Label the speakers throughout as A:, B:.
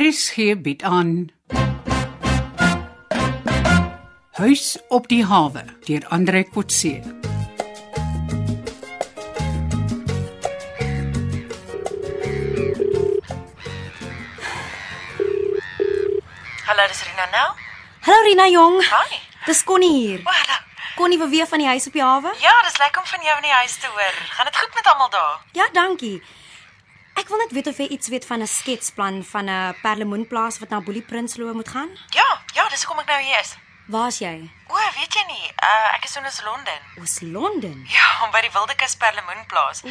A: RSG bied aan Huis op die hawe deur Andre Kotse.
B: Hallo, dis Rina nou.
C: Hallo Rina Jong.
B: Hi.
C: Dis Connie hier.
B: O, hallo.
C: Connie beweeg van die huis op die hawe?
B: Ja, dis lekker om van jou in die huis te hoor. Gaan dit goed met almal daar?
C: Ja, dankie. Ek wil net weet of jy iets weet van 'n sketsplan van 'n perlemoenplaas wat na Boelie Prinsloo moet gaan.
B: Ja, ja, dis hoekom ek nou hier is.
C: Waar's jy?
B: O, weet jy nie, uh, ek is in Londen.
C: Ons Londen.
B: Ja, om by die Wilde Kus Perlemoenplaas.
C: O,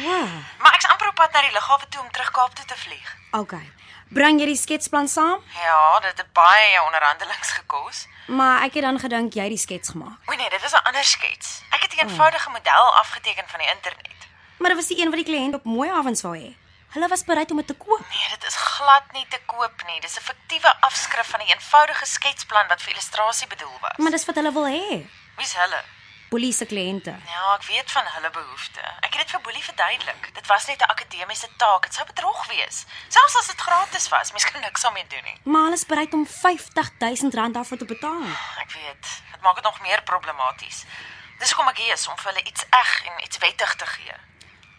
B: Maar ek's amper op pad na die lughawe toe om terug Kaap toe te vlieg.
C: okay. Bring jy die sketsplan saam?
B: Ja, dit het baie onderhandelings gekos.
C: Maar ek het dan gedink jy het die skets gemaak.
B: O nee, dit is 'n ander skets. Ek
C: Hmm.
B: het 'n eenvoudige model afgeteken van die internet.
C: Maar dit was die een wat die kliënt op mooi avonds wou hê. Hulle was bereid om dit te koop.
B: Nee, dit is glad nie te koop nie. Dis 'n fiktiewe afskrif van 'n eenvoudige sketsplan wat vir illustrasie bedoel was.
C: Maar dis wat hulle wil hê.
B: Wie's hulle?
C: Boelie se kliënte.
B: Ja, ek weet van hulle behoeftes. Ek het dit vir Boelie verduidelik. Dit was net 'n akademiese taak. Dit sou bedrog wees. Selfs as dit gratis was, mens kan niks daarmee doen nie.
C: Maar hulle is bereid om R50000 daarvoor te betaal.
B: Ek weet. Dit maak dit nog meer problematies. Dis hoekom ek hier is om vir hulle iets eg en iets wettig te gee.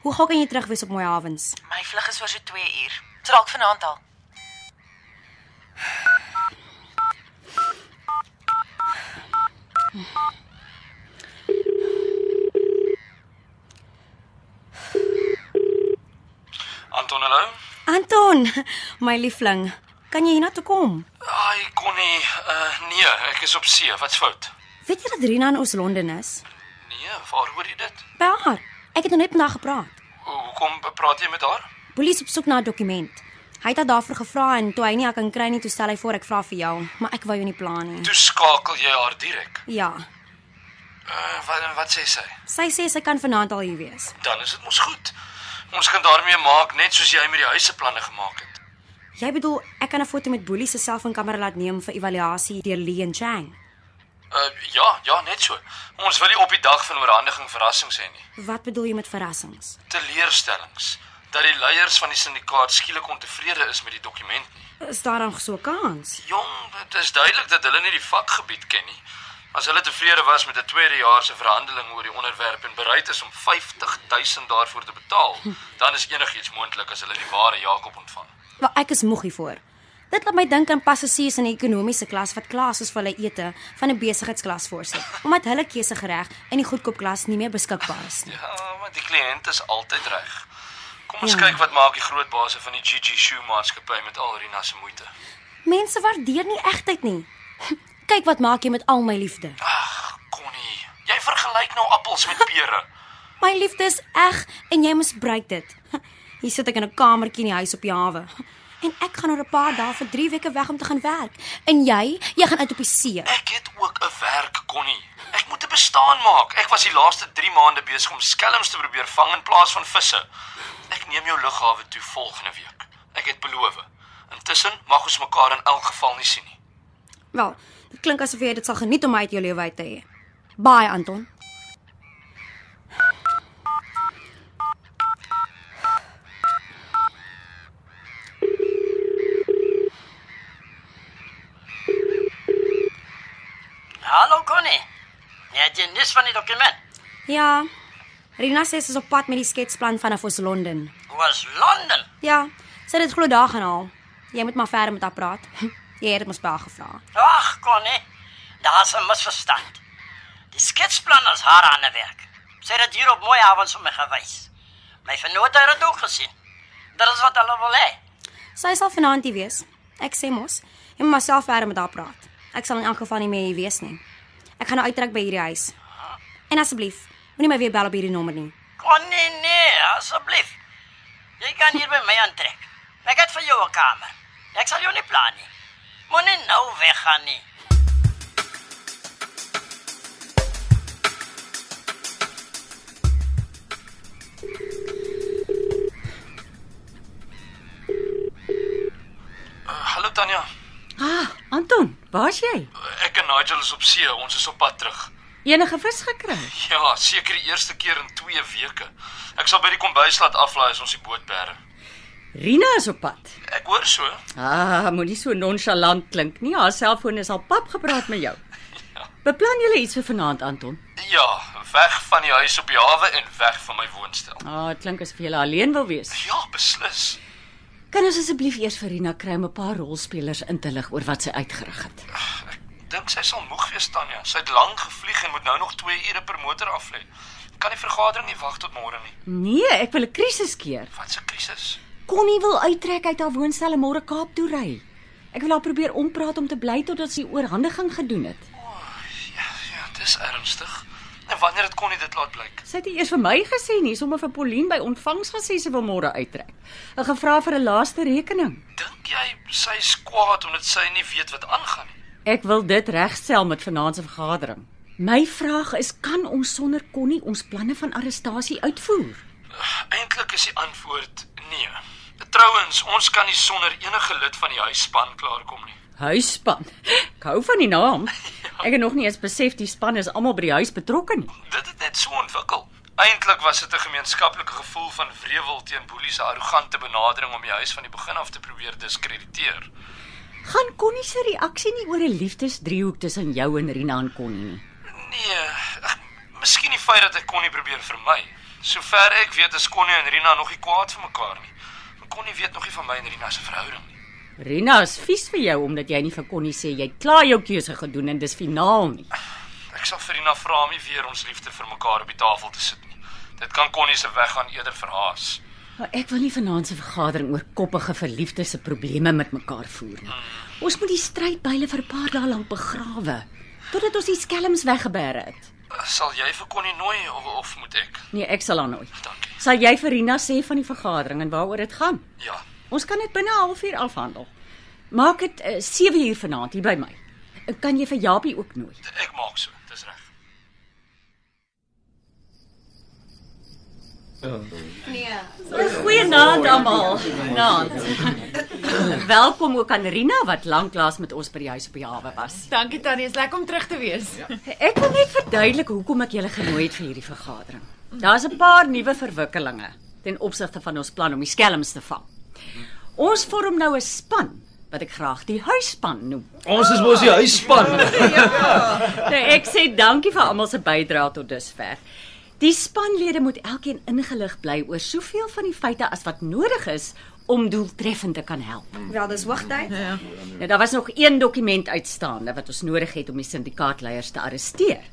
C: Hoe gou kan jy terug wees op mooi avonds?
B: My vlug is oor so 2 uur. So dalk vanaand al.
D: Anton, hallo.
C: Anton, my liefling, kan jy hiernatoe kom?
D: Ai, Connie, uh nee, ek is op see. Wat's fout?
C: Weet jy dat Rina in ons Londen is?
D: Nee, waar hoor jy dit?
C: By haar. Ek het nou net met haar gepraat.
D: Ho- Hoekom praat jy met haar?
C: Polisie op soek na 'n dokument. Hy het haar daarvoor gevra en toe hy nie haar kan kry nie, toe stel hy voor ek vra vir jou, maar ek wou jou nie pla nie.
D: Toe skakel jy haar direk.
C: Ja,
D: Uh wat wat sê sy?
C: sy sê sy kan vanaand al hier wees.
D: Dan is dit mos goed. Ons kan daarmee maak net soos jy met die huiseplanne gemaak het.
C: Jy bedoel, ek kan 'n foto met Boelie se selfoonkamera laat neem vir evaluasie deur Lee en Chang.
D: Uh ja, ja, net so. Ons wil nie op die dag van oorhandiging verrassings hê nie.
C: Wat bedoel jy met verrassings?
D: Teleurstellings dat die leiers van die sindikaat skielik ontevrede is met die dokument nie.
C: Is daar dan so 'n kans?
D: Jong, dit is duidelik dat hulle nie die vakgebied ken nie. As hulle tevrede was met 'n tweedejaarse verhandeling oor die onderwerp en bereid is om 50000 daarvoor te betaal, dan is enigiets moontlik as hulle die ware Jakob ontvang.
C: Maar ek is moeg hiervoor. Dit laat my dink aan passasiers in die ekonomiese klas wat klas is vir hulle ete van 'n besigheidsklas voorsit, omdat hulle keusegereg in die goedkoop klas nie meer beskikbaar is nie.
D: Ja, maar die kliënt is altyd reg. Kom ons
C: Ja.
D: ja. kyk wat maak die groot baas van die GG Shoe maatskappy met al Rina se moeite.
C: Mense waardeer nie egtheid nie. Kyk wat maak jy met al my liefde.
D: Ag, Connie, jy vergelyk nou appels met pere.
C: My liefde is eg en jy misbruik dit. Hier sit ek in 'n kamertjie in die huis op die hawe. En ek gaan oor 'n paar dae vir 3 weke weg om te gaan werk. En jy, jy gaan uit op die see.
D: Ek het ook 'n werk, Connie. Ek moet 'n bestaan maak. Ek was die laaste 3 maande besig om skelms te probeer vang in plaas van visse. Ek neem jou lughawe toe volgende week. Ek het beloof. Intussen mag ons mekaar in elk geval nie sien nie.
C: Wel, dit klink asof jy dit sal geniet om my uit jou lewe uit te hê. Baie Anton.
E: Hallo Connie. Het jy nis van die dokument?
C: Ja. Rina sê sy is op pad met die sketsplan vanaf ons Londen.
E: Was Londen.
C: Ja, sy het dit glo daar gaan haal. Jy moet maar verder met haar praat. Jy het dit mos baie gevra.
E: Ag Connie, daar's 'n misverstand. Die sketsplan is haar handewerk. Sy het dit hier op mooi avonds vir my gewys. My vennote het dit ook gesien. Dit is wat hulle wil hê.
C: Sy sal vanaand hier wees. Ek sê mos, jy moet myself verder met haar praat. Ek sal in elk geval nie meer hier wees nie. Ek gaan nou uittrek by hierdie huis. En asseblief, moenie my weer bel op hierdie nommer nie.
E: Connie, nee, asseblief. Jy kan hier by my aantrek. Ek het vir jou 'n kamer. Ek sal jou nie pla nie. Moenie nou weggaan nie.
D: Uh, hallo Tanya.
F: Ah, Anton, waar's jy?
D: Ek en Nigel is op see. Ons is op pad terug.
F: Enige vis gekry?
D: Ja, seker die eerste keer in 2 weke. Ek sal by die kombuis laat aflaai as ons die boot bære.
F: Rina is op pad.
D: Ek hoor so.
F: Ah, moenie so nonchalant klink nie. Haar selfoon is al pap gepraat met jou. Beplan julle iets vir vanaand, Anton?
D: Ja, weg van die huis op die hawe en weg van my woonstel.
F: Ah, dit klink asof jy alleen wil wees.
D: Ja, beslis.
F: Kan ons asseblief eers vir Rina kry om 'n paar rolspelers in te lig oor wat sy uitgerig het?
D: Dink sy sal moeg wees Tanya. Sy het lank gevlieg en moet nou nog 2 ure per motor af lê. Kan die vergadering nie wag tot môre nie.
F: Nee, ek wil 'n krisis keer.
D: Wat 'n krisis.
F: Connie wil uittrek uit haar woonstel en môre Kaap toe ry. Ek wil haar probeer ompraat om te bly totdat sy die oorhandiging gedoen het.
D: Ja, ja, dis ernstig. En wanneer dit kon nie dit laat blyk.
F: Sy het nie eers vir my gesê nie, sommer vir Pauline by ontvangs gesê sy wil môre uittrek. Ek gevra vir 'n laaste rekening.
D: Dink jy sy is kwaad omdat sy nie weet wat aangaan nie?
F: Ek wil dit regstel met vanaand se vergadering. My vraag is kan ons sonder Connie ons planne van arrestasie uitvoer?
D: Eintlik is die antwoord nee. Trouwens, ons kan nie sonder enige lid van die huisspan klaarkom nie.
F: Huisspan. Ek hou van die naam. Ek het nog nie eens besef die span is almal by die huis betrokke nie.
D: Dit het net so ontwikkel. Eintlik was dit 'n gemeenskaplike gevoel van wrevel teen Boelie se arrogante benadering om die huis van die begin af te probeer diskrediteer.
F: Gaan Connie se reaksie nie oor 'n liefdesdriehoek tussen jou en Rina en Connie nie.
D: Nee, ag, miskien die feit dat ek kon nie probeer vermy. Sover ek weet is Connie en Rina nog nie kwaad vir mekaar nie. Maar Connie weet nog nie van my en Rina se verhouding nie.
F: Rina is vies vir jou omdat jy nie vir Connie sê jy het klaar jou keuse gedoen en dis finaal nie.
D: Ek sal vir Rina vra om nie weer ons liefde vir mekaar op die tafel te sit nie. Dit kan Connie se weggaan eerder verhaas.
F: Maar ek wil nie vanaand se vergadering oor koppige verliefdes se probleme met mekaar voer nie. Ons moet die strydbyle vir 'n paar dae lank begrawe totdat ons die skelms weggeberg het.
D: Eh, Sal jy vir Connie nooi of, of moet ek?
F: Nee, ek sal haar nooi.
D: Dankie.
F: Sal jy vir Rina sê van die vergadering en waaroor dit gaan?
D: Ja.
F: Ons kan dit binne 'n halfuur afhandel. Maak dit uh, 7 uur vanaand hier by my. En kan jy vir Japie ook nooi?
D: Ek maak so, dis reg.
F: Goeienaand almal. Naand. Welkom ook aan Rina wat lanklaas met ons by die huis op die hawe was.
G: Dankie Tannie, is lekker om terug te wees. Ja.
F: Ek wil net verduidelik hoekom ek julle genooi het vir hierdie vergadering. Daar's 'n paar nuwe verwikkelinge ten opsigte van ons plan om die skelms te vang. Ons vorm nou 'n span wat ek graag die huisspan noem.
H: Ons is mos die huisspan.
F: Nou ek sê dankie vir almal se bydrae tot dusver. Die spanlede moet elkeen ingelig bly oor soveel van die feite as wat nodig is om doeltreffend te kan help.
C: Wel, dis hoogtyd.
F: Nou daar was nog een dokument uitstaande wat ons nodig het om die syndikaatleiers te arresteer.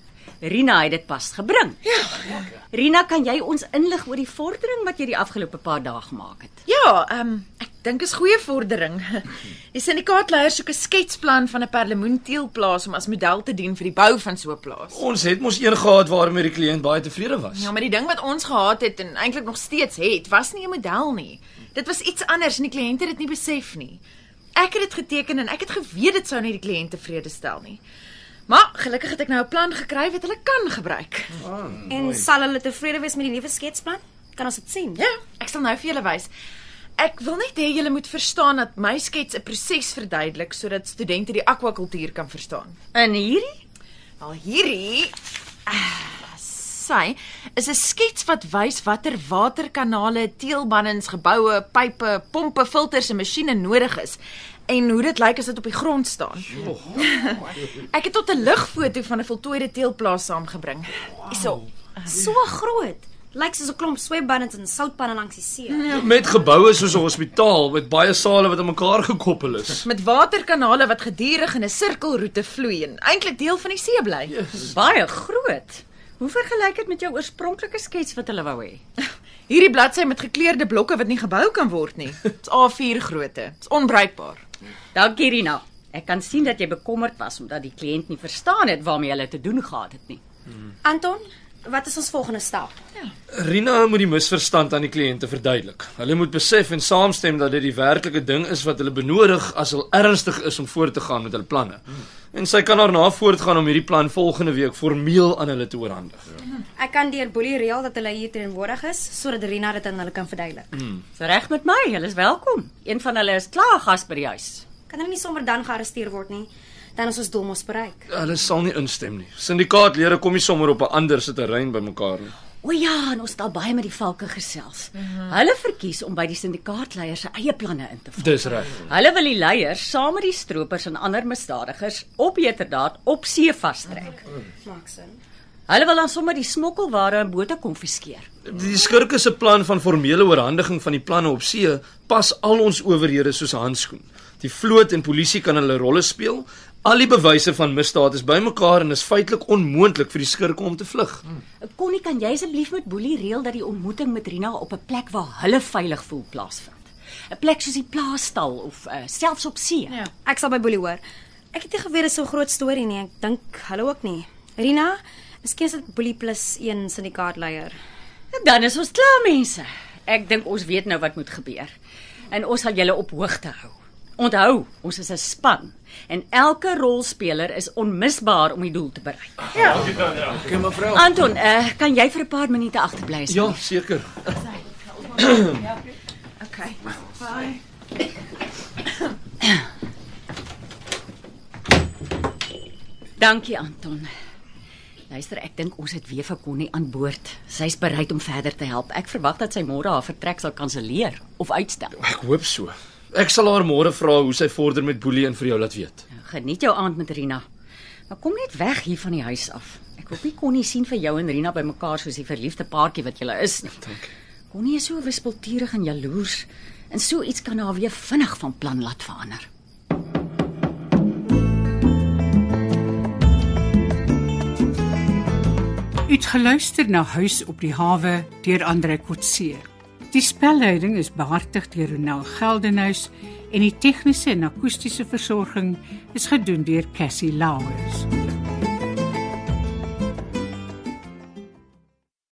F: Rina het dit pas gebring. Ja. Rina, kan jy ons inlig oor die vordering wat jy die afgelope paar dae gemaak het?
G: Ja, ehm um, ek dink is goeie vordering. Die syndikaatleier soek 'n sketsplan van 'n perlemoenteelplaas om as model te dien vir die bou van so 'n plaas.
H: Ons het mos een gehad waarmee die kliënt baie tevrede was.
G: Ja, maar die ding wat ons gehad het en eintlik nog steeds het, was nie 'n model nie. Dit was iets anders en die kliënte het dit nie besef nie. Ek het dit geteken en ek het geweet dit sou nie die kliënt tevrede stel nie. Maar gelukkig het ek nou 'n plan gekry wat hulle kan gebruik.
C: En sal hulle tevrede wees met die nuwe sketsplan? Kan ons dit sien?
G: Ja, ek sal nou vir julle wys. Ek wil net hê julle moet verstaan dat my skets 'n proses verduidelik sodat studente die akwakultuur kan verstaan.
F: In hierdie?
G: Al hierdie ah, sy is 'n skets wat wys watter waterkanale, teelbannings, geboue, pype, pompe, filters en masjiene nodig is en hoe dit lyk as dit op die grond staan. ek het tot 'n ligfoto van 'n voltooide teelplaas saamgebring. Hierso.
C: So groot. Lyk soos 'n klomp swembaddens en soutpanne langs die see.
H: Met geboue soos 'n hospitaal met baie sale wat aan mekaar gekoppel is.
G: met waterkanale wat gedurig in 'n sirkelroete vloei en eintlik deel van die see bly.
F: Baie groot. Hoe vergelyk dit met jou oorspronklike skets wat hulle wou hê?
G: Hierdie bladsy met gekleurde blokke wat nie gebou kan word nie. Dit's A4 grootte. Dit's onbruikbaar.
F: Dankie Rina. Ek kan sien dat jy bekommerd was omdat die kliënt nie verstaan het waarmee hulle te doen gehad het nie.
C: Anton, wat is ons volgende stap?
H: Rina moet die misverstand aan die kliënte verduidelik. Hulle moet besef en saamstem dat dit die werklike ding is wat hulle benodig as hulle ernstig is om voort te gaan met hulle planne. En sy kan daarna voortgaan om hierdie plan volgende week formeel aan hulle te oorhandig.
C: Ek kan deur Boelie reël dat hulle hier teenwoordig is sodat Rina dit aan hulle kan verduidelik.
F: So reg met my, julle is welkom. Een van hulle is klaar gas by die huis.
C: Kan hulle nie sommer dan gearresteer word nie? Dan is ons doel mos bereik.
H: Hulle sal nie instem nie. Syndikaatlede kom nie sommer op 'n ander se terrein bymekaar nie.
F: O ja, en ons het al baie met die valke gesels. Hulle verkies om by die sindikaatleier se eie planne in te val.
D: Dis reg.
F: Hulle wil die leiers saam met die stroopers en ander misdadigers op heterdaad op see vastrek.
C: Maak sin.
F: Hulle wil dan sommer die smokkelware in bote konfiskeer.
D: Die skurke se plan van formele oorhandiging van die planne op see pas al ons owerhede soos 'n handskoen. Die vloot en polisie kan hulle rolle speel. Al die bewyse van misdaad is bymekaar en is feitelik onmoontlik vir die skurke om te vlug.
F: Connie, kan jy asseblief met Boelie reël dat die ontmoeting met Rina op 'n plek waar hulle veilig voel plaasvind? 'n Plek soos die plaastal of uh, selfs op see. Ja.
C: Ek sal by Boelie hoor. Ek het nie geweet dit is so 'n groot storie nie. Ek dink hulle ook nie. Rina, miskien is dit Boelie plus 1 sindikaatleier.
F: Dan is ons klaar mense. Ek dink ons weet nou wat moet gebeur. En ons sal julle op hoogte hou. Onthou, ons is 'n span en elke rolspeler is onmisbaar om die doel te bereik. Ja. Okay, mevrou. Anton, uh, kan jy vir 'n paar minute agterbly asseblief?
D: Ja, seker.
F: Dankie Anton. Luister, ek dink ons het weer vir Connie aan boord. Sy's bereid om verder te help. Ek verwag dat sy môre haar vertrek sal kanselleer of uitstel.
D: Ek hoop so. Ek sal haar môre vra hoe sy vorder met Boelie en vir jou laat weet.
F: Geniet jou aand met Rina. Maar kom net weg hier van die huis af. Ek hoop nie Connie sien vir jou en Rina bymekaar soos die verliefde paartjie wat julle is nie.
D: Dankie.
F: Connie is so wispelturig en jaloers en so iets kan haar weer vinnig van plan laat verander.
A: Uitgeluister na Huis op die hawe deur Andre Kotse. Die spelleiding is behartig deur Ronel Geldenhuys en die tegniese en akoestiese versorging is gedoen deur Cassie Lauers.